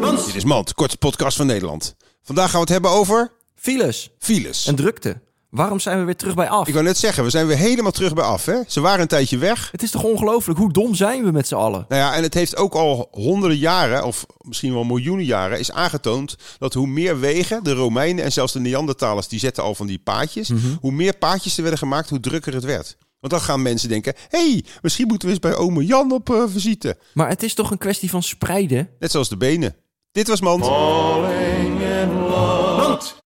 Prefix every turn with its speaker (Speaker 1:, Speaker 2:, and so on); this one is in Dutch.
Speaker 1: Mand. Dit is Mand, korte podcast van Nederland. Vandaag gaan we het hebben over
Speaker 2: Files
Speaker 1: files.
Speaker 2: en drukte. Waarom zijn we weer terug bij af?
Speaker 1: Ik wou net zeggen, we zijn weer helemaal terug bij af. Hè? Ze waren een tijdje weg.
Speaker 2: Het is toch ongelooflijk? Hoe dom zijn we met z'n allen?
Speaker 1: Nou ja, en het heeft ook al honderden jaren, of misschien wel miljoenen jaren, is aangetoond dat hoe meer wegen, de Romeinen en zelfs de Neandertalers, die zetten al van die paadjes, hoe meer paadjes er werden gemaakt, hoe drukker het werd. Want dan gaan mensen denken, hé, hey, misschien moeten we eens bij ome Jan op eh, visite.
Speaker 2: Maar het is toch een kwestie van spreiden?
Speaker 1: Net zoals de benen. Dit was Mand.